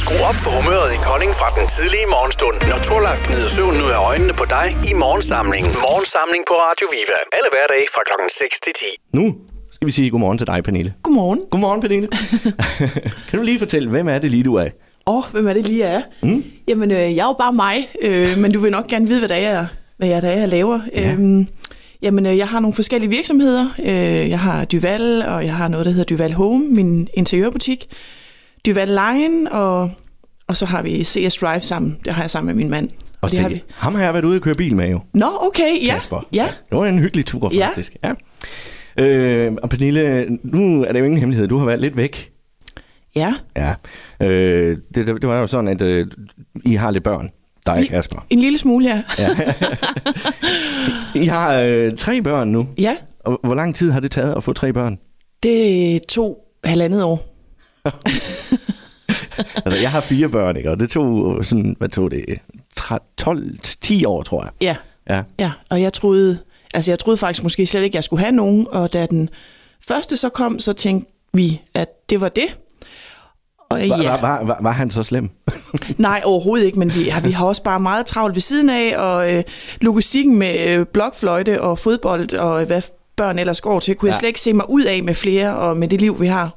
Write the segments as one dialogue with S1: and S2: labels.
S1: Skru op for humøret i Kolding fra den tidlige morgenstund, når Torlak gnider søvnen ud af øjnene på dig i Morgensamlingen. Morgensamling på Radio Viva. Alle hverdage fra klokken 6 til 10.
S2: Nu skal vi sige godmorgen til dig, Pernille.
S3: Godmorgen.
S2: Godmorgen, Pernille. kan du lige fortælle, hvem er det lige, du er?
S3: Åh, oh, hvem er det lige jeg er? Mm. Jamen, øh, jeg er jo bare mig, øh, men du vil nok gerne vide, hvad det er, jeg- hvad jeg, der er, jeg laver.
S2: Ja.
S3: Ja. Øhm, jamen, øh, jeg har nogle forskellige virksomheder. Øh, jeg har Duval, og jeg har noget, der hedder Duval Home, min interiørbutik. Duval Line, og, og så har vi CS Drive sammen. Det har jeg sammen med min mand.
S2: Og
S3: det har vi.
S2: tænke, ham har jeg været ude og køre bil med jo,
S3: Nå, okay, ja.
S2: Kasper.
S3: Ja,
S2: Det var en hyggelig tur,
S3: Ja.
S2: faktisk. Ja. Øh, og Pernille, nu er det jo ingen hemmelighed, du har været lidt væk.
S3: ja.
S2: Ja. Øh, det, det, det var jo sådan, at øh, I har lidt børn, dig og Kasper.
S3: En lille smule her. Ja.
S2: I har øh, tre børn nu.
S3: ja,
S2: Og hvor lang tid har det taget at få tre børn?
S3: det tog halvandet år.
S2: Altså, jeg har fire børn, ikke? Og det tog øh, sådan, hvad tog det? Tre- 12, 10 år, tror jeg.
S3: Ja,
S2: Ja.
S3: Ja, og jeg troede, altså jeg troede faktisk måske slet ikke, jeg skulle have nogen, og da den første så kom, så tænkte vi, at det var det. Og
S2: Var, ja. var, var, var, var han så slem?
S3: Nej, overhovedet ikke, men vi, ja, vi har også bare meget travlt ved siden af, og øh, logistikken med øh, blokfløjte og fodbold og øh, hvad børn ellers går til, kunne ja.
S2: Ja.
S3: jeg slet ikke se mig ud af med flere og med det liv, vi har.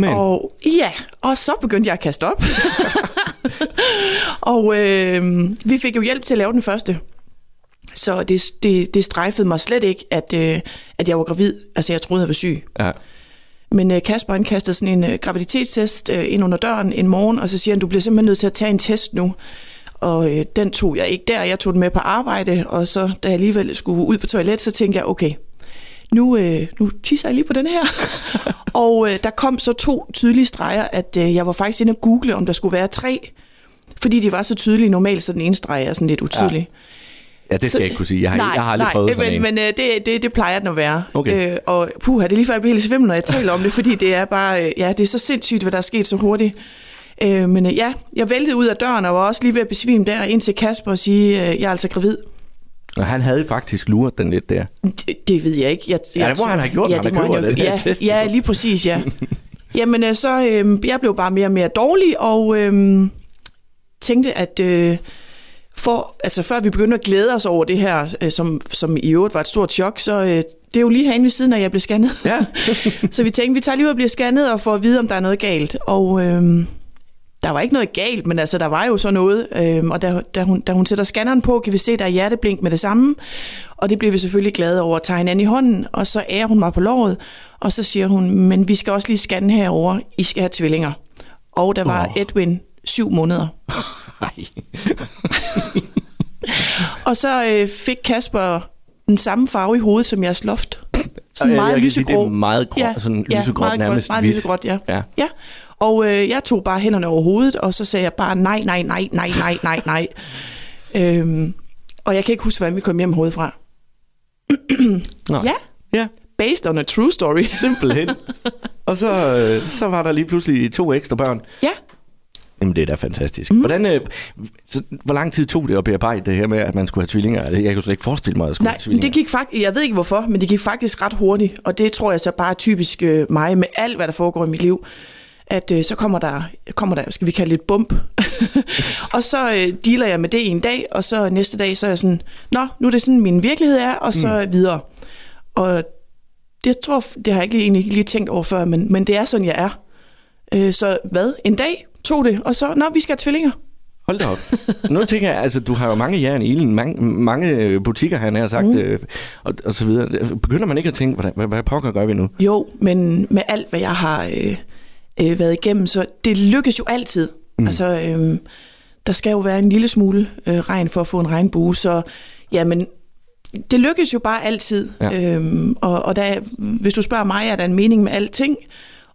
S2: Men,
S3: Og ja, og så begyndte jeg at kaste op. og øh, vi fik jo hjælp til at lave den første. Så det, det, det strejfede mig slet ikke, at, øh, at jeg var gravid. Altså, jeg troede, jeg var syg.
S2: ja.
S3: Men øh, Kasper, han kastede sådan en øh, graviditetstest øh, ind under døren en morgen, og så siger han, du bliver simpelthen nødt til at tage en test nu. Og øh, den tog jeg ikke der, jeg tog den med på arbejde, og så da jeg alligevel skulle ud på toilet, så tænkte jeg, okay, nu, øh, nu tisser jeg lige på den her. og øh, der kom så to tydelige streger, at øh, jeg var faktisk inde og google, om der skulle være tre, fordi de var så tydelige. Normalt så den ene streg er sådan lidt utydelig. Ja.
S2: ja, det skal
S3: Så-
S2: jeg ikke kunne sige. Jeg har,
S3: nej,
S2: jeg har aldrig
S3: nej,
S2: prøvet
S3: men,
S2: sådan en.
S3: Men øh, det, det, det plejer den at være.
S2: Okay.
S3: Øh, og puha, det er lige før, jeg bliver helt svimmel, når jeg taler om det, fordi det er bare, øh, ja, det er så sindssygt, hvad der er sket så hurtigt. Øh, men øh, ja, jeg væltede ud af døren og var også lige ved at besvime der, ind til Kasper og sige, øh, jeg er altså gravid.
S2: Og han havde faktisk luret den lidt der.
S3: Det, det ved jeg ikke. Jeg,
S2: Ja, det må han have gjort, når han
S3: må
S2: køber
S3: jo-
S2: den her
S3: ja,
S2: test,
S3: Ja,
S2: jo.
S3: lige præcis, ja. Jamen, øh, så øh, jeg blev bare mere og mere dårlig, og øh, tænkte, at øh, for, altså, før vi begyndte at glæde os over det her, øh, som, som i øvrigt var et stort chok, så øh, det er jo lige herinde ved siden, at jeg blev scannet.
S2: Ja.
S3: så vi tænkte, vi tager lige ud og bliver scannet og får at vide, om der er noget galt. Og øh, der var ikke noget galt, men altså, der var jo så noget. Øh, og da, da, hun, da hun sætter scanneren på, kan vi se, der er hjerteblink med det samme. Og det bliver vi selvfølgelig glade over at tage hinanden i hånden. Og så ærer hun mig på låret, og så siger hun, men vi skal også lige scanne herover. I skal have tvillinger. Og der var
S2: Åh.
S3: Edwin syv måneder.
S2: Nej.
S3: Og så øh, fik Kasper den samme farve i hovedet som jeres loft. Sådan
S2: Ja,
S3: meget
S2: jeg kan sige,
S3: lysegrå.
S2: det er meget grå- sådan lysegrå,
S3: meget grønt,
S2: nærmest
S3: meget
S2: hvidt.
S3: lysegrå, ja.
S2: Ja.
S3: ja. ja. Og øh, jeg tog bare hænderne over hovedet, og så sagde jeg bare nej, nej, nej, nej, nej, nej, nej. øhm, og jeg kan ikke huske, hvordan vi kom hjem hovedfra.
S2: Nej.
S3: Ja,
S2: Ja,
S3: based on a true story.
S2: simpelthen. og så, øh, så var der lige pludselig to ekstra børn.
S3: ja,
S2: Jamen, det er da fantastisk. Mm. Hvordan, øh, så, hvor lang tid tog det at bearbejde det her med, at man skulle have tvillinger? Altså, Jeg kunne slet ikke forestille mig, at jeg skulle
S3: nej,
S2: have
S3: men
S2: tvillinger.
S3: det gik faktisk, jeg ved ikke hvorfor, men det gik faktisk ret hurtigt. Og det tror jeg så bare er typisk øh, mig med alt, hvad der foregår i mit liv. at øh, så kommer der, kommer der, skal vi kalde det et bump. og så øh, dealer jeg med det en dag, og så næste dag, så er jeg sådan, nå, nu er det sådan, min virkelighed er, og så mm. videre. Og det jeg tror, det har jeg ikke lige, egentlig ikke lige tænkt over før, men, men det er sådan, jeg er. Øh, så hvad? En dag tog det, og så, nå, vi skal have tvillinger.
S2: Hold da op. Nu tænker jeg, altså, du har jo mange jern i ilden, mange, mange øh, butikker, han har sagt, mm. øh, og, og så videre. Begynder man ikke at tænke, hvordan, hvad, hvad pokker gør vi nu?
S3: Jo, men med alt, hvad jeg har øh, øh, været igennem, så det lykkes jo altid. Mm. Altså, øh, der skal jo være en lille smule øh, regn for at få en regnbue, så jamen, det lykkes jo bare altid.
S2: Ja.
S3: Ja. Øhm, og og der, hvis du spørger mig, er der en mening med alting?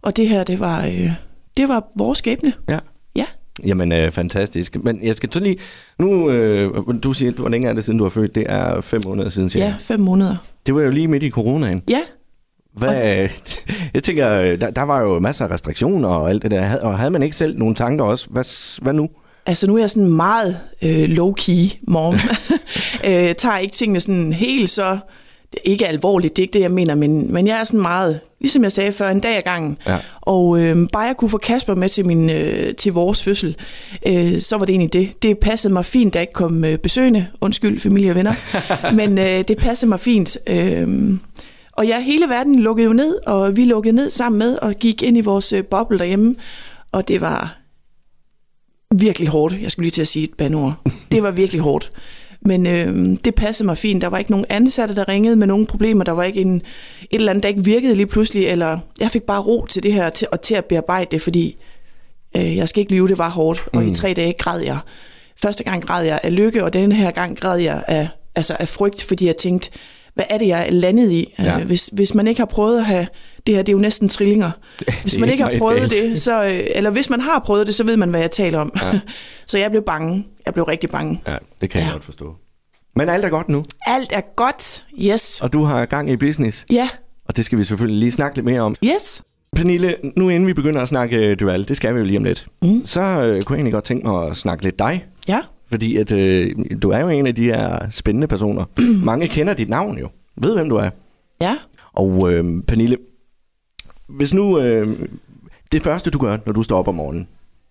S3: Og det her, det var, øh, det var vores skæbne.
S2: Ja.
S3: Ja.
S2: Jamen, øh, fantastisk. Men jeg skal så lige... Nu, øh, du siger, hvor længe er det siden, du har født? Det er fem måneder siden, siger
S3: ja,
S2: jeg.
S3: fem måneder.
S2: Det var jo lige midt i coronaen.
S3: Ja,
S2: Hvad, jeg tænker, øh, der, der var jo masser af restriktioner og alt det der. Hav- Og havde man ikke selv nogle tanker også? Hvad, s- hvad nu?
S3: Altså nu er jeg sådan meget øh, low-key mom. øh, tager ikke tingene sådan helt så ikke alvorligt, det er ikke det, jeg mener, men, men jeg er sådan meget, ligesom jeg sagde før, en dag ad gangen.
S2: Ja.
S3: Og øh, bare jeg kunne få Kasper med til, min, øh, til vores fødsel, øh, så var det egentlig det. Det passede mig fint, der ikke kom øh, besøgende, undskyld familie og venner, men øh, det passede mig fint. Øh, og ja, hele verden lukkede jo ned, og vi lukkede ned sammen med, og gik ind i vores øh, boble derhjemme, og det var virkelig hårdt. Jeg skulle lige til at sige et banord. Det var virkelig hårdt. Men øh, det passede mig fint. Der var ikke nogen ansatte, der ringede med nogen problemer. Der var ikke en, et eller andet, der ikke virkede lige pludselig. Eller jeg fik bare ro til det her til, og til at bearbejde det, fordi øh, jeg skal ikke lyve, det var hårdt. Og i tre dage græd jeg. Første gang græd jeg af lykke, og denne her gang græd jeg af, altså af frygt, fordi jeg tænkte, hvad er det, jeg er landet i?
S2: Ja.
S3: Ja. Hvis, hvis man ikke har prøvet at have... Det her, det er jo næsten trillinger. Hvis
S2: er
S3: man
S2: ikke
S3: ikke har
S2: meget
S3: prøvet
S2: galt.
S3: det, så, øh, eller hvis man har prøvet det, så ved man, hvad jeg taler om. Ja. så jeg blev bange. Jeg blev rigtig bange.
S2: Ja, det kan ja. jeg
S3: Ja.
S2: godt forstå. Men alt er godt nu,
S3: Alt er godt. Yes.
S2: og du har gang i business,
S3: Ja.
S2: og det skal vi selvfølgelig lige snakke lidt mere om.
S3: Yes.
S2: Pernille, nu inden vi begynder at snakke øh, Duval, det skal vi jo lige om lidt, mm. så øh, kunne jeg egentlig godt tænke mig at snakke lidt dig.
S3: Ja.
S2: Fordi at, øh, du er jo en af de her spændende personer. Mange kender dit navn jo, ved hvem du er.
S3: Ja.
S2: Og øh, Pernille, hvis nu øh, det første du gør, når du står op om morgenen,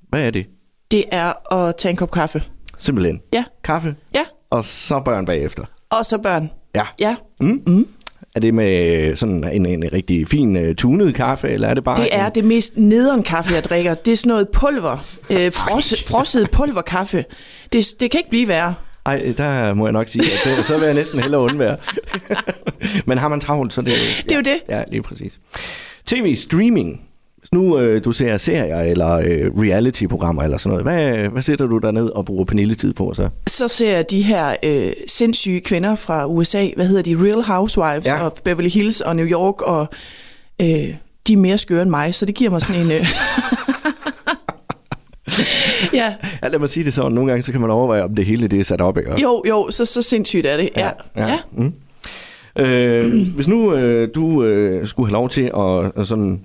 S2: hvad er det?
S3: Det er at tage en kop kaffe.
S2: Simpelthen
S3: Ja.
S2: kaffe,
S3: Ja.
S2: og så børn bagefter.
S3: Og så børn.
S2: Ja.
S3: Ja.
S2: Mm. Mm. Er det med sådan en, en rigtig fin uh, tunet kaffe, eller er det bare...
S3: Det er
S2: en,
S3: det mest nederen kaffe, jeg drikker. Det er sådan noget pulver. Øh, frosse, frosset pulverkaffe. Det, det kan ikke blive værre.
S2: Ej, der må jeg nok sige, at det, så vil jeg næsten hellere undvære. Men har man travlt, så det...
S3: Det er jo det.
S2: Ja, lige præcis. TV-streaming. Hvis nu øh, du ser serier eller øh, reality-programmer eller sådan noget, hvad, hvad sætter du der ned og bruger Pernille-tid på så?
S3: Så ser jeg de her øh, sindssyge kvinder fra USA. Hvad hedder de? Real Housewives
S2: Ja.
S3: ja. og Beverly Hills og New York. Og øh, de er mere skøre end mig, så det giver mig sådan en... Øh... ja,
S2: Ja, lad mig sige det sådan. Nogle gange så kan man overveje, om det hele det er sat op, ikke?
S3: Jo, jo, så, så sindssygt er det. Ja. ja. ja.
S2: Mm. Øh, hvis nu øh, du øh, skulle have lov til at, at sådan,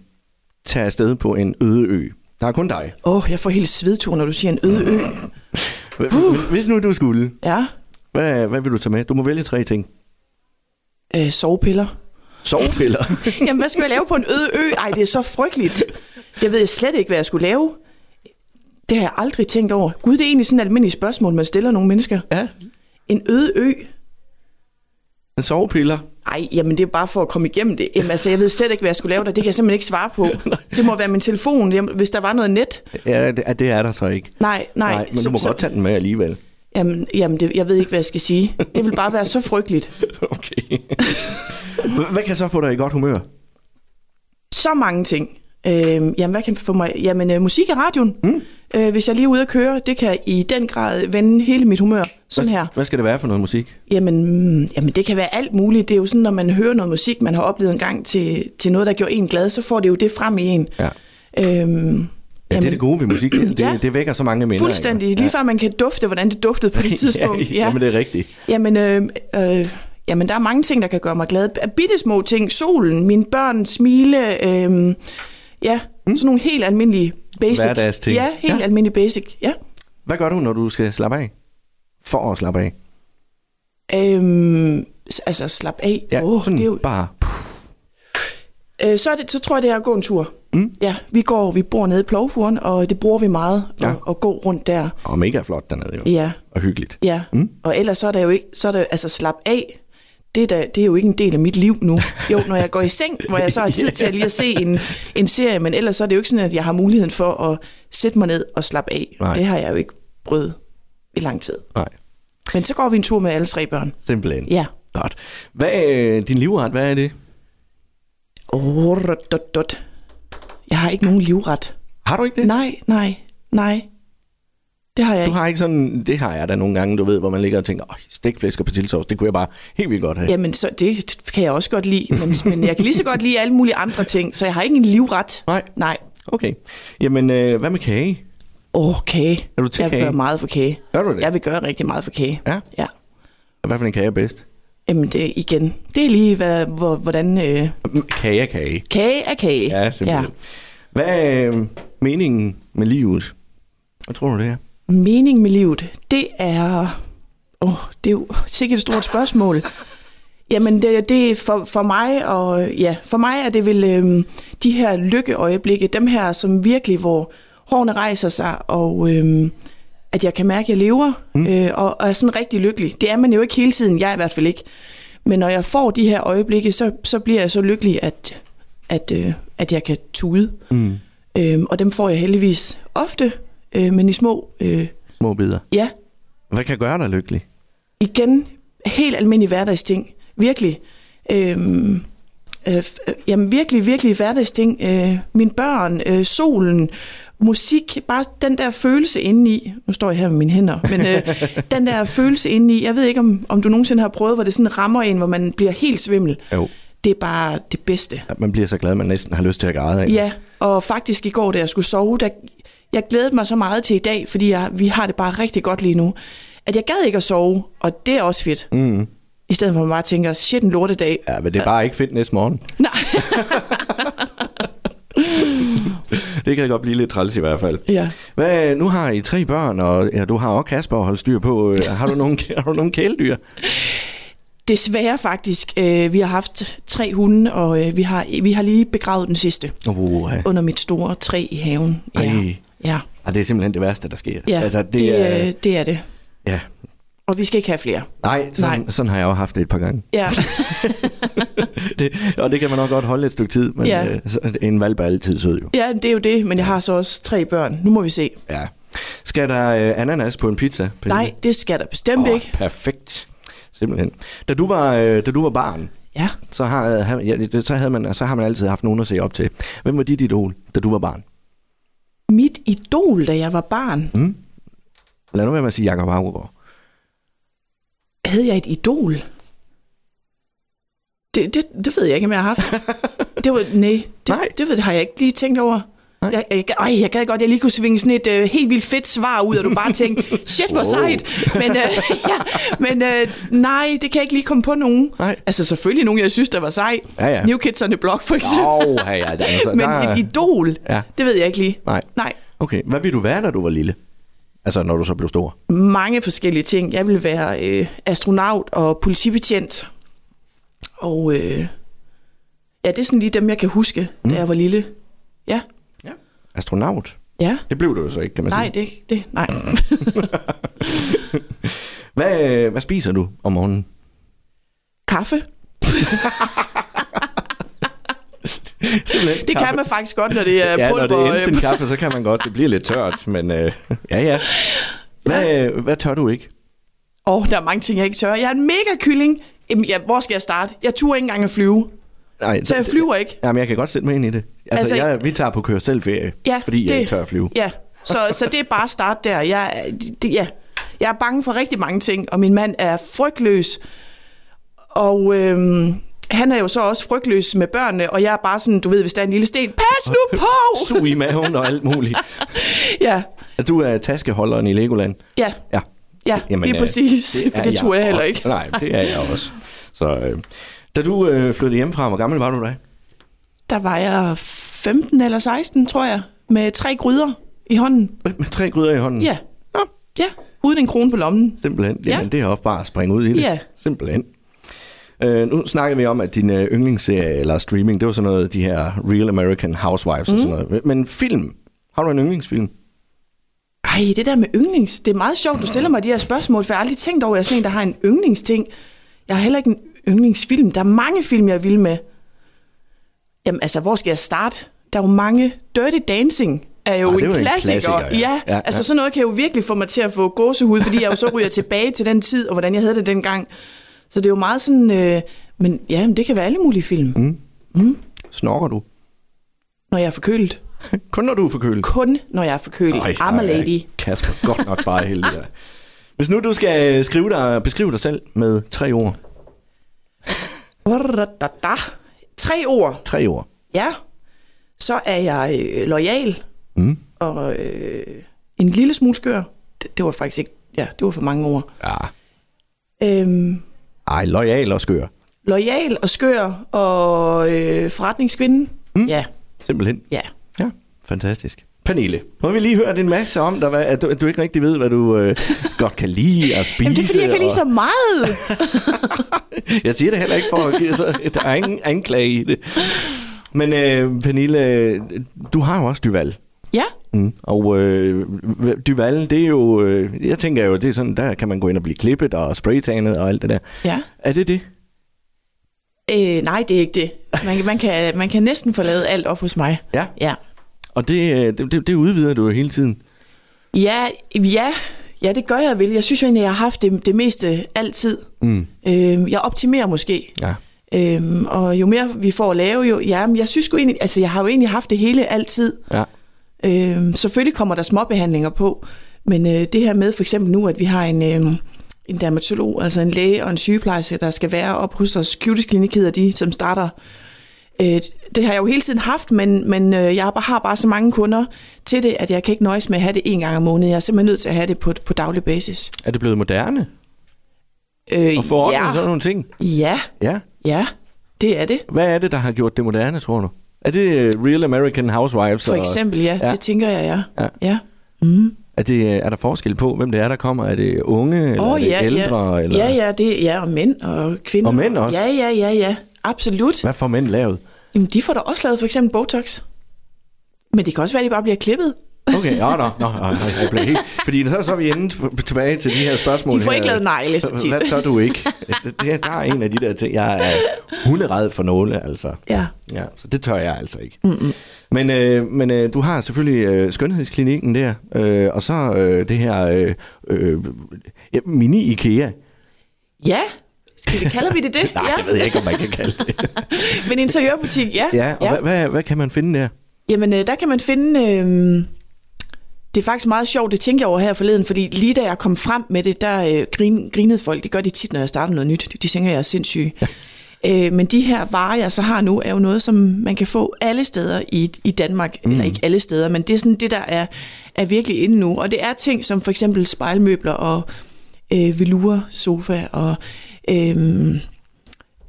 S2: tage afsted på en øde ø, der er kun dig.
S3: Åh, oh, jeg får helt svedtur, når du siger en øde ø.
S2: H- Hvis nu du skulle,
S3: Ja.
S2: hvad, hvad vil du tage med? Du må vælge tre ting.
S3: Øh, sovepiller.
S2: Sovepiller.
S3: Jamen, hvad skulle jeg lave på en øde ø? Ej, det er så frygteligt. Jeg ved slet ikke, hvad jeg skulle lave. Det har jeg aldrig tænkt over. Gud, det er egentlig sådan et almindeligt spørgsmål, man stiller nogle mennesker.
S2: ja,
S3: En øde ø?
S2: en sovepiller.
S3: Ej, jamen det er bare for at komme igennem det. Jamen, altså, jeg ved slet ikke, hvad jeg skulle lave der. Det kan jeg simpelthen ikke svare på. Det må være min telefon, jamen, hvis der var noget net.
S2: Ja, det, ja, det er der så ikke.
S3: Nej, nej.
S2: Nej men du må godt tage den med alligevel.
S3: Jamen, jamen det, jeg ved ikke, hvad jeg skal sige. Det vil bare være så frygteligt.
S2: Okay. H- hvad kan så få dig i godt humør?
S3: så mange ting. Øh, jamen, hvad kan få mig? Jamen, øh, musik i radioen. Mm. Øh, hvis jeg lige er ude at køre, det kan i den grad vende hele mit humør. Sådan her.
S2: Hvad skal det være for noget musik?
S3: Jamen, mm, jamen, det kan være alt muligt. Det er jo sådan, når man hører noget musik, man har oplevet en gang til, til noget, der gjorde en glad, så får det jo det frem i en.
S2: Ja.
S3: Øhm,
S2: Ja, det er det gode ved musik. Det,
S3: Ja.
S2: det, det vækker så mange minder. ikke?
S3: Fuldstændig. Lige før man kan dufte, hvordan det duftede på det tidspunkt.
S2: ja. Jamen, det er rigtigt.
S3: Jamen, øh, øh, jamen, der er mange ting, der kan gøre mig glad. Bitte små ting. Solen, mine børn, smile. Øh, ja, mm. sådan nogle helt almindelige basic.
S2: Hverdagsting.
S3: Ja, helt
S2: Ja.
S3: ja. almindelige basic. Ja.
S2: Hvad gør du, når du skal slappe af? For at slappe af.
S3: Øh, altså, slap af.
S2: Ja,
S3: Åh,
S2: sådan
S3: det er jo,
S2: bare.
S3: øh, så, er det, så tror jeg, det er at gå en tur. Mm. Ja, vi går, vi bor nede i Plovfuren, og det bruger vi meget,
S2: Ja.
S3: ja. at, at gå rundt der.
S2: Og mega flot dernede jo.
S3: Ja.
S2: Og hyggeligt.
S3: Ja, mm. og ellers så er der jo ikke, så er der, altså slap af, det er, da, det er jo ikke en del af mit liv nu. Jo, når jeg går i seng, hvor jeg så har tid til at lige at se en, en serie, men ellers så er det jo ikke sådan, at jeg har muligheden for at sætte mig ned og slappe af.
S2: Nej.
S3: Det har jeg jo ikke prøvet i lang tid.
S2: Nej,
S3: Men så går vi en tur med alle tre børn.
S2: simpelthen.
S3: Ja.
S2: Godt. Hvad er din livret? Hvad er det?
S3: Oh, dot, dot, dot. Jeg har ikke nogen livret.
S2: Har du ikke det?
S3: Nej, nej, nej. Det har jeg
S2: Du
S3: ikke.
S2: har ikke sådan, det har jeg da nogle gange, du ved, hvor man ligger og tænker, åh, stikflæsk og persillesovs, det kunne jeg bare helt vildt godt have.
S3: Jamen, så det kan jeg også godt lide, men, men jeg kan lige så godt lide alle mulige andre ting, så jeg har ikke en livret.
S2: Nej.
S3: Nej.
S2: Okay. Jamen, øh, hvad med kage?
S3: Åh, oh, kage.
S2: Er du til
S3: jeg
S2: kage?
S3: gør meget for kage.
S2: Gør du det?
S3: Jeg vil gøre rigtig meget for kage.
S2: Ja.
S3: ja.
S2: Hvad for en kage er bedst?
S3: Jamen det, igen, det er lige, hvad, hvor, hvordan øh,
S2: Mm, Kage er kage.
S3: kage er kage.
S2: Ja, simpelthen. Ja. Hvad er øh, meningen med livet? Hvad tror du, det er?
S3: Mening med livet, det er... Åh, oh, det er jo sikkert et stort spørgsmål. Jamen, det, det for, for mig og ja, for mig er det vel øhm, de her lykkeøjeblikke, dem her som virkelig hvor hårene rejser sig og øhm, at jeg kan mærke, at jeg lever mm. øh, og, og er sådan rigtig lykkelig. Det er man jo ikke hele tiden, jeg i hvert fald ikke. Men når jeg får de her øjeblikke, så, så bliver jeg så lykkelig, at, at, øh, at jeg kan tude. Mm. Øhm, og dem får jeg heldigvis ofte, øh, men i små, øh,
S2: Små bidder.
S3: ja,
S2: Hvad kan gøre dig lykkelig?
S3: igen, helt almindelige hverdagsting. Virkelig. Øhm, øh, f- øh, jamen virkelig, virkelig hverdagsting. Øh, mine børn, øh, solen, musik, bare den der følelse indeni. Nu står jeg her med mine hænder, men øh, den der følelse indeni. Jeg ved ikke, om, om du nogensinde har prøvet, hvor det sådan rammer en, hvor man bliver helt svimmel.
S2: Jo.
S3: Det er bare det bedste.
S2: At man bliver så glad, at man næsten har lyst til at græde af.
S3: Ja, og faktisk i går, da jeg skulle sove, der, jeg glædede mig så meget til i dag, fordi jeg, vi har det bare rigtig godt lige nu, at jeg gad ikke at sove, og det er også fedt. Mm. I stedet for at man bare tænker, shit, en lortedag.
S2: ja men det er bare ikke fedt næste morgen.
S3: Nej.
S2: Det kan godt blive lidt træls i hvert fald.
S3: ja.
S2: Hvad, øh, nu har I tre børn, og ja, du har også Kasper at holde styr på. Øh, Har du nogle, har du nogle kæledyr?
S3: Desværre faktisk, øh, vi har haft tre hunde, og øh, vi, har, vi har lige begravet den sidste
S2: Oh, ja.
S3: under mit store træ i haven. Ja.
S2: Ej.
S3: Ja,
S2: Ah, det er simpelthen det værste, der sker.
S3: ja.
S2: altså, det, det er,
S3: øh, det er det.
S2: ja.
S3: Og vi skal ikke have flere.
S2: Nej, sådan,
S3: Nej.
S2: Nej, sådan har jeg jo haft det et par gange.
S3: Ja.
S2: Det, og det kan man nok godt holde et stykke tid, men
S3: Ja.
S2: ja. øh, så- en valp er altid sød jo.
S3: ja, det er jo det, men jeg har så også tre børn. Nu må vi se.
S2: Ja. Skal der øh, ananas på en pizza? Pernille?
S3: Nej, det skal der bestemt
S2: Åh,
S3: ikke.
S2: perfekt. Simpelthen. Da du var, øh, da du var barn,
S3: Ja.
S2: så har, han- ja, det- så, havde man, så har man altid haft nogen at se op til. Hvem var dit idol, da du var barn?
S3: Mit idol, da jeg var barn. Mm.
S2: Lad nu være med at sige Jacob Haugaard.
S3: Havde jeg et idol? Det, det, det ved jeg ikke, om jeg har haft. det var, nej, det,
S2: Nej.
S3: Det, ved, har jeg ikke lige tænkt over.
S2: Nej.
S3: Jeg, jeg, ej, jeg gad godt, at jeg lige kunne svinge sådan et øh, helt vildt fedt svar ud, og du bare tænkte, shit, hvor
S2: Wow.
S3: sejt. Men, øh, ja, men øh, nej, det kan jeg ikke lige komme på nogen.
S2: Nej.
S3: Altså selvfølgelig nogen, jeg synes, der var sej.
S2: Ja, ja.
S3: New Kids on the Block, for eksempel.
S2: Åh, ja, ja, altså,
S3: men
S2: der-
S3: et idol,
S2: Ja.
S3: det ved jeg ikke lige.
S2: Nej.
S3: Nej.
S2: Okay, hvad ville du være, da du var lille? Altså, når du så blev stor.
S3: mange forskellige ting. Jeg ville være øh, astronaut og politibetjent. Og øh, ja, det er sådan lige dem, jeg kan huske, mm. da jeg var lille. Ja,
S2: Ja. Astronaut?
S3: ja.
S2: Det blev du jo så ikke, kan man
S3: Nej,
S2: sige.
S3: det, det, nej.
S2: Hvad, øh, hvad spiser du om morgenen?
S3: Kaffe,
S2: Simpelthen
S3: det kan man faktisk godt, når det er
S2: Ja, når det
S3: pulver,
S2: er
S3: øh,
S2: instant kaffe, så kan man godt. Det bliver lidt tørt, men øh, ja, ja. Hvad, øh, hvad tør du ikke?
S3: Åh, oh, der er mange ting, jeg ikke tør. Jeg er en mega kylling. Jamen, ja, hvor skal jeg starte? Jeg turde ikke engang at flyve,
S2: Nej,
S3: så jeg flyver ikke.
S2: Jamen, jeg kan godt sætte mig ind i det. Altså,
S3: Altså,
S2: altså jeg, vi tager på køre selv ferie,
S3: Ja,
S2: fordi jeg
S3: det-
S2: ikke tør at flyve.
S3: Ja, så, så det er bare at starte der. Jeg, er- det, ja. jeg er bange for rigtig mange ting, og min mand er frygtløs. Og øhm, han er jo så også frygtløs med børnene, og jeg er bare sådan, du ved, hvis der er en lille sten, pas nu på!
S2: Sug i maven og alt muligt.
S3: ja,
S2: Du er taskeholderen i Legoland.
S3: ja,
S2: Ja.
S3: ja, Jamen, lige
S2: øh,
S3: præcis, det for
S2: er
S3: det
S2: jeg
S3: turde jeg heller
S2: også.
S3: ikke.
S2: Nej, det er jeg også. Så, øh, da du øh, flyttede hjemmefra, hvor gammel var du da?
S3: Der var jeg 15 eller 16, tror jeg, med tre gryder i hånden.
S2: Med, med tre gryder i hånden?
S3: Ja,
S2: Nå,
S3: ja, uden en krone på lommen.
S2: simpelthen.
S3: Ja.
S2: Jamen, det er også bare at springe ud i det.
S3: Ja.
S2: Simpelthen. Øh, nu snakker vi om, at din øh, yndlingsserie eller streaming, det var sådan noget, de her Real American Housewives mm. og sådan
S3: Mhm.
S2: noget. Men film, har du en yndlingsfilm?
S3: Ej, det der med yndlings, det er meget sjovt, du stiller mig de her spørgsmål, for jeg har aldrig tænkt over, at jeg er sådan en, der har en yndlingsting. Jeg har heller ikke en yndlingsfilm. Der er mange film, jeg vil med. Jamen altså, hvor skal jeg starte? Der er jo mange. Dirty Dancing er jo,
S2: Ah, det
S3: en,
S2: er jo en
S3: klassiker.
S2: klassiker, ja.
S3: ja.
S2: Ja,
S3: altså
S2: ja.
S3: sådan noget kan jo virkelig få mig til at få gåsehud, fordi jeg jo så ryger tilbage til den tid, og hvordan jeg havde det dengang. Så det er jo meget sådan, øh, men ja, men det kan være alle mulige film, mm.
S2: Snorker du?
S3: når jeg er forkølet.
S2: Kun når du er forkølet?
S3: Kun når jeg er forkølet.
S2: Ej,
S3: I'm a
S2: der er
S3: lady.
S2: Kasper, godt nok bare heldig der. Hvis nu du skal øh, skrive dig, beskrive dig selv med tre ord.
S3: Da. Tre ord.
S2: Tre ord.
S3: Ja, så er jeg øh, lojal mm. og øh, en lille smule skør. Det, det var faktisk ikke, ja, det var for mange ord.
S2: Ja.
S3: Øhm,
S2: Ej, lojal og skør.
S3: lojal og skør og øh, forretningskvinde. Mm. Ja,
S2: Simpelthen.
S3: ja.
S2: Ja, fantastisk. Pernille, nu har vi lige hørt en masse om dig, hvad- at du, at du ikke rigtig ved, hvad du øh, godt kan lide at spise.
S3: Jamen, det er fordi, jeg kan lide så meget.
S2: og, jeg siger det heller ikke for at give så, der er ingen anklage i det. Men øh, Pernille, øh, du har jo også Duval.
S3: ja,
S2: Mm. Og øh, Duval, det er jo, øh, jeg tænker jo, det er sådan, der kan man gå ind og blive klippet og spraytanet og alt det der.
S3: ja.
S2: Er det det?
S3: Øh, nej, det er ikke det. Man, kan- man, kan, man kan næsten få lavet alt op hos mig.
S2: Ja.
S3: Ja,
S2: Og det, øh, det, det, det udvider du jo hele tiden.
S3: ja, ja, ja det gør jeg vel. Jeg synes jo egentlig, jeg har haft det, det meste altid. Mm. Øh, jeg optimerer måske.
S2: Ja.
S3: Øhm, og jo mere vi får at lave, jo, ja, men jeg synes jo egentlig, altså jeg har jo egentlig haft det hele altid.
S2: Ja.
S3: Øhm, selvfølgelig kommer der småbehandlinger på, men øh, det her med for eksempel nu, at vi har en, øh, en dermatolog, altså en læge og en sygeplejerske, der skal være op hos os. Cutis Klinik hedder de, som starter. Øh, det har jeg jo hele tiden haft, men, men øh, jeg har bare, har bare så mange kunder til det, at jeg kan ikke nøjes med at have det en gang om måneden. Jeg er simpelthen nødt til at have det på, på daglig basis.
S2: Er det blevet moderne?
S3: Øh,
S2: Og forordnet ja.
S3: ja,
S2: sådan nogle ting?
S3: ja,
S2: Ja.
S3: ja, det er det.
S2: Hvad er det, der har gjort det moderne, tror du? Er det øh, Real American Housewives?
S3: For
S2: og-
S3: eksempel, ja.
S2: Ja.
S3: ja. Det tænker jeg, ja.
S2: Ja.
S3: ja. ja.
S2: Er, det, øh, er der forskel på, hvem det er, der kommer? Er det unge, eller er det ældre?
S3: ja.
S2: Eller?
S3: Ja, ja, det ja, og mænd og kvinder.
S2: Og mænd også?
S3: Ja, ja, ja, ja. Absolut.
S2: Hvad får mænd lavet?
S3: Jamen, de får da også lavet for eksempel Botox. Men det kan også være, at de bare bliver klippet.
S2: Okay, ja, nå, nå, nå, jeg blev helt... Fordi så, så er vi inde t- tilbage til de her spørgsmål
S3: De får
S2: her.
S3: ikke lavet negle så tit.
S2: Hvad tør du ikke? Det, det, der er en af de der ting. Jeg er hunderede for nåle, altså.
S3: Ja.
S2: Ja, så det tør jeg altså ikke. Mm-mm. Men, øh, men øh, du har selvfølgelig øh, skønhedsklinikken der, øh, og så øh, det her øh, øh, ja, mini-IKEA.
S3: Ja. Skal vi, kalder vi det det?
S2: Nej,
S3: ja.
S2: ja. det ved jeg ikke, om man kan kalde det.
S3: Men interiørbutik, ja.
S2: ja, og ja. Hvad, hvad, hvad kan man finde der?
S3: Jamen, øh, der kan man finde... Øh, det er faktisk meget sjovt, det tænker jeg over her forleden, fordi lige da jeg kom frem med det, der øh, grin, grinede folk. Det gør de tit, når jeg starter noget nyt. De tænker, jeg er sindssyg. øh, men de her varer, jeg så har nu, er jo noget, som man kan få alle steder i, i Danmark. Mm. Eller ikke alle steder, men det er sådan det, der er, er virkelig inde nu. Og det er ting som for eksempel spejlmøbler og øh, velure sofa og... Øh,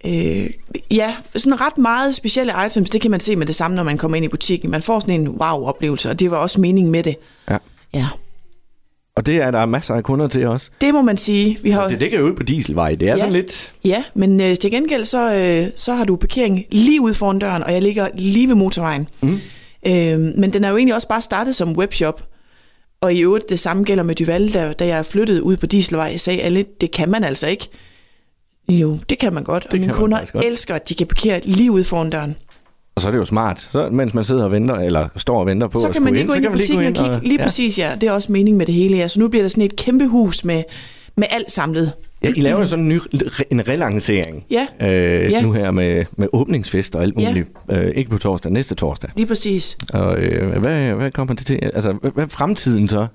S3: Øh, ja, sådan ret meget specielle items, det kan man se med det samme, når man kommer ind i butikken. Man får sådan en wow-oplevelse, og det var også meningen med det.
S2: Ja.
S3: Ja.
S2: Og det er der masser af kunder til også.
S3: Det må man sige. Vi har,
S2: Det ligger jo ude på dieselvej. Det er ja.
S3: Ja.
S2: sådan lidt...
S3: Ja, men øh, til gengæld så, øh, så har du parkering lige ude foran døren, og jeg ligger lige ved motorvejen.
S2: Mhm.
S3: Mm. Øh, men den er jo egentlig også bare startet som webshop. Og i øvrigt, det samme gælder med Duval, da, da jeg flyttede ud på Dieselvej, sagde alle, det kan man altså ikke. Jo, det kan man godt, og mine
S2: kan man
S3: kunder
S2: faktisk godt.
S3: elsker, at de kan parkere lige ude foran døren.
S2: Og så er det jo smart. Så, mens man sidder og venter, eller står og venter på
S3: så
S2: at
S3: kan man
S2: skulle
S3: lige gå ind i butikken og kigge. lige
S2: ja.
S3: præcis, ja. Det er også meningen med det hele, ja. Så nu bliver der sådan et kæmpe hus med, med alt samlet.
S2: Ja, I laver jo sådan en, ny, en relancering
S3: Ja.
S2: Øh,
S3: Ja.
S2: nu her med, med åbningsfest og alt
S3: Ja.
S2: muligt. Øh, ikke på torsdag, næste torsdag.
S3: Lige præcis.
S2: Og øh, hvad, hvad kommer det til? Altså, hvad, hvad er fremtiden så?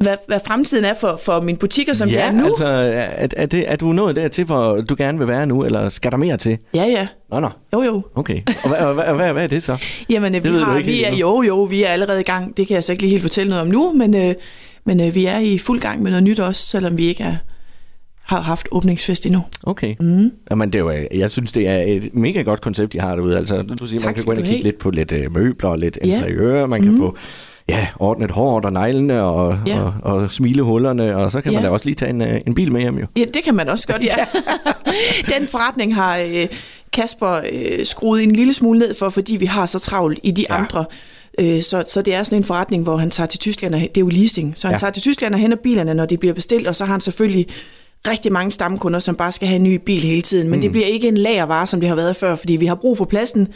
S3: Hvad, hvad fremtiden er for, for mine butikker, som de er nu.
S2: altså, er, er, det, er du nået dertil, hvor du gerne vil være nu, eller skal der mere til?
S3: Ja, ja.
S2: Nå, nå.
S3: Jo, jo.
S2: Okay. Og hvad, og hvad, hvad, hvad er det så?
S3: Jamen, øh,
S2: ved
S3: vi,
S2: du
S3: har,
S2: ikke
S3: vi
S2: helt
S3: er,
S2: endnu.
S3: jo, jo, vi er allerede i gang. Det kan jeg så ikke lige helt fortælle noget om nu, men, øh, men øh, vi er i fuld gang med noget nyt også, selvom vi ikke er, har haft åbningsfest endnu.
S2: Okay. Mm. Jamen, det er jo, øh, jeg synes, det er et mega godt koncept, I har derude. Altså, du siger, man kan
S3: skal
S2: gå ind og
S3: du
S2: kigge
S3: have.
S2: lidt på lidt øh, møbler og lidt
S3: Ja. Mm-hmm.
S2: interiør. Man kan få ja, ordnet håret og neglene og,
S3: Ja.
S2: og, og smilehullerne, og så kan man
S3: Ja.
S2: da også lige tage en, øh, en bil med hjem jo.
S3: Ja, det kan man også godt, ja. Den forretning har øh, Kasper øh, skruet en lille smule ned for, fordi vi har så travlt i de
S2: Ja.
S3: ja. andre. Øh, så, så det er sådan en forretning, hvor han tager til Tyskland, og, det er jo leasing, så han
S2: Ja.
S3: ja. tager til Tyskland og henter bilerne, når de bliver bestilt, og så har han selvfølgelig rigtig mange stamkunder, som bare skal have en ny bil hele tiden. Men mm. det bliver ikke en lagervare, som det har været før, fordi vi har brug for pladsen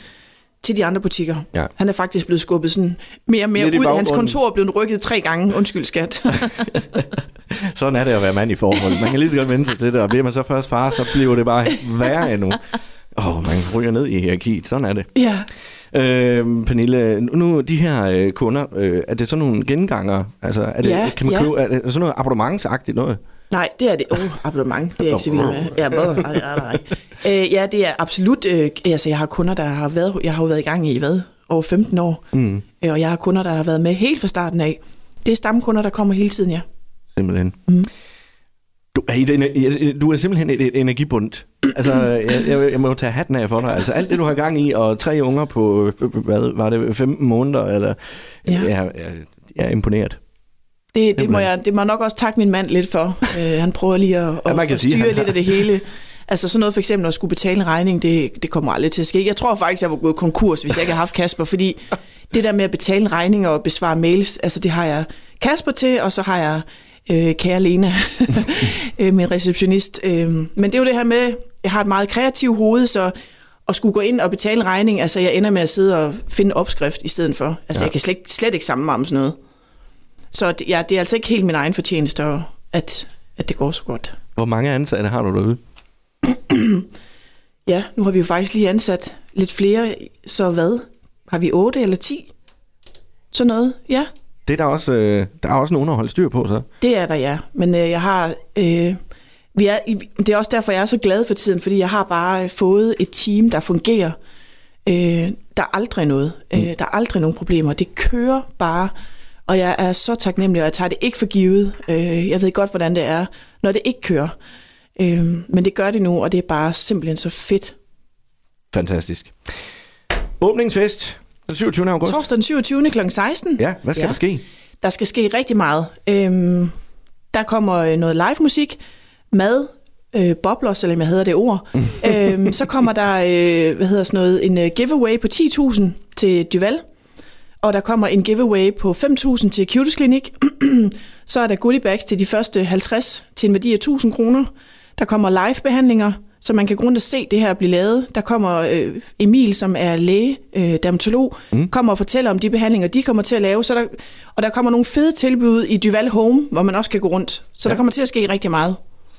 S3: til de andre butikker.
S2: Ja.
S3: Han er faktisk blevet skubbet sådan mere og mere
S2: Lidt i
S3: ud. Hans
S2: baggrunden.
S3: kontor er blevet rykket tre gange. Undskyld, skat.
S2: Sådan er det at være mand i forhold. Man kan lige så godt vende sig til det, og bliver man så først far, så bliver det bare værre endnu. Åh, oh, man ryger ned i hierarkiet. Sådan er det.
S3: ja.
S2: Øh, Pernille, nu- nu de her øh, kunder, øh, er det sådan nogle genganger? Altså, er det,
S3: Ja,
S2: kan man
S3: ja.
S2: købe, er det sådan noget abonnementsagtigt noget?
S3: Nej, det er det. Oh, abonnement, det er jeg ikke så vild med. Ja, hvad? Nej, nej, nej. Øh, ja, det er absolut... Øh, altså, jeg har kunder, der har været... Jeg har jo været i gang i, hvad? Over 15 år. Mm. Øh, og jeg har kunder, der har været med helt fra starten af. Det er stamkunder, der kommer hele tiden, ja.
S2: Simpelthen. Mm. Du, Hey, det er ener- jeg- du er simpelthen et, et energibundt. Altså, jeg, jeg, jeg må jo tage hatten af for dig. Altså, alt det, du har gang i, og tre unger på, øh, hvad var det, 15 måneder, eller... Ja.
S3: Ja.
S2: Jeg, jeg, jeg er imponeret.
S3: Det, det, må
S2: Simpelthen.
S3: jeg, det må jeg nok også takke min mand lidt for. Øh, han prøver lige at,
S2: Ja, man
S3: at,
S2: kan
S3: at
S2: sige,
S3: styre
S2: han
S3: lidt
S2: har-
S3: af det hele. Altså sådan noget for eksempel at skulle betale en regning, det, det kommer aldrig til at ske. Jeg tror faktisk, jeg var gået konkurs, hvis jeg ikke havde haft Kasper, fordi det der med at betale en regning og besvare mails, altså det har jeg Kasper til, og så har jeg øh, kære Lena, øh, min receptionist. Øh, men det er jo det her med, jeg har et meget kreativt hoved, så at skulle gå ind og betale regning, altså jeg ender med at sidde og finde opskrift i stedet for.
S2: Ja.
S3: Altså ja. jeg kan slet, ikke- slet ikke samle mig om sådan noget. Så det, ja, det er altså ikke helt min egen fortjeneste, og at, at det går så godt.
S2: Hvor mange ansatte har du derude?
S3: Ja, nu har vi jo faktisk lige ansat lidt flere, så hvad? Har vi 8 eller 10? Sådan noget, ja.
S2: Det er der også, øh, der er også nogen at holde styr på, så.
S3: Det er der, ja. Men øh, jeg har... Øh, vi er, i- det er også derfor, jeg er så glad for tiden, fordi jeg har bare øh, fået et team, der fungerer. Øh, der er aldrig noget. Øh,
S2: Mm.
S3: der er aldrig nogen problemer. Det kører bare. Og jeg er så taknemmelig, og jeg tager det ikke for givet. Øh, jeg ved godt, hvordan det er, når det ikke kører. Øh, men det gør det nu, og det er bare simpelthen så fedt.
S2: Fantastisk. Åbningsfest den 27. august.
S3: Torsdag den 27. kl. 16.
S2: Ja, hvad skal ja. der ske?
S3: Der skal ske rigtig meget. Øhm, der kommer øh, noget live musik, mad, øh, bobler, selvom jeg hedder det ord. øhm, så kommer der øh, hvad hedder sådan noget, en øh, giveaway på 10.000 til Duval. Og der kommer en giveaway på 5.000 til Cutis Klinik. så er der goodie bags til de første 50 til en værdi af 1.000 kroner. Der kommer live-behandlinger, så man kan gå rundt og se det her blive lavet. Der kommer øh, Emil, som er læge, øh, dermatolog, mm. kommer og fortæller om de behandlinger, de kommer til at lave. Så der, og der kommer nogle fede tilbud i Duval Home, hvor man også kan gå rundt. Så ja. der kommer til at ske rigtig meget.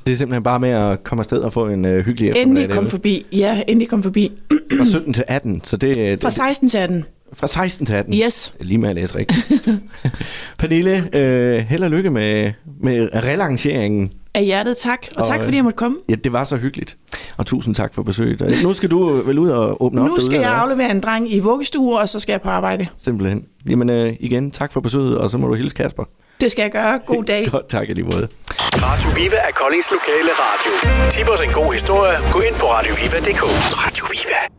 S2: Det er simpelthen bare med at komme afsted og få en øh, hyggelig eftermiddag.
S3: Endelig kom
S2: derude.
S3: forbi. Ja, endelig kom forbi.
S2: Fra 17 til 18, så det, det,
S3: Fra 16 til 18.
S2: fra 16 til 18.
S3: Yes.
S2: Lige med at læse rigtigt. Pernille, øh, held og lykke med, med relanceringen.
S3: Af hjertet tak. Og, og tak,
S2: øh,
S3: fordi jeg måtte komme.
S2: Ja, det var så hyggeligt. Og tusind tak for besøget. Øh, Nu skal du vel ud og åbne op
S3: Nu skal
S2: derude,
S3: jeg
S2: eller hvad?
S3: aflevere en dreng i vuggestue, og så skal jeg på arbejde.
S2: Simpelthen. Jamen øh, igen, tak for besøget, og så må du hilse Kasper.
S3: Det skal jeg gøre. God dag.
S2: Godt, tak i lige måde.
S1: Radio Viva er Koldings lokale radio. Tip os en god historie. Gå ind på radioviva.dk. Radio Viva.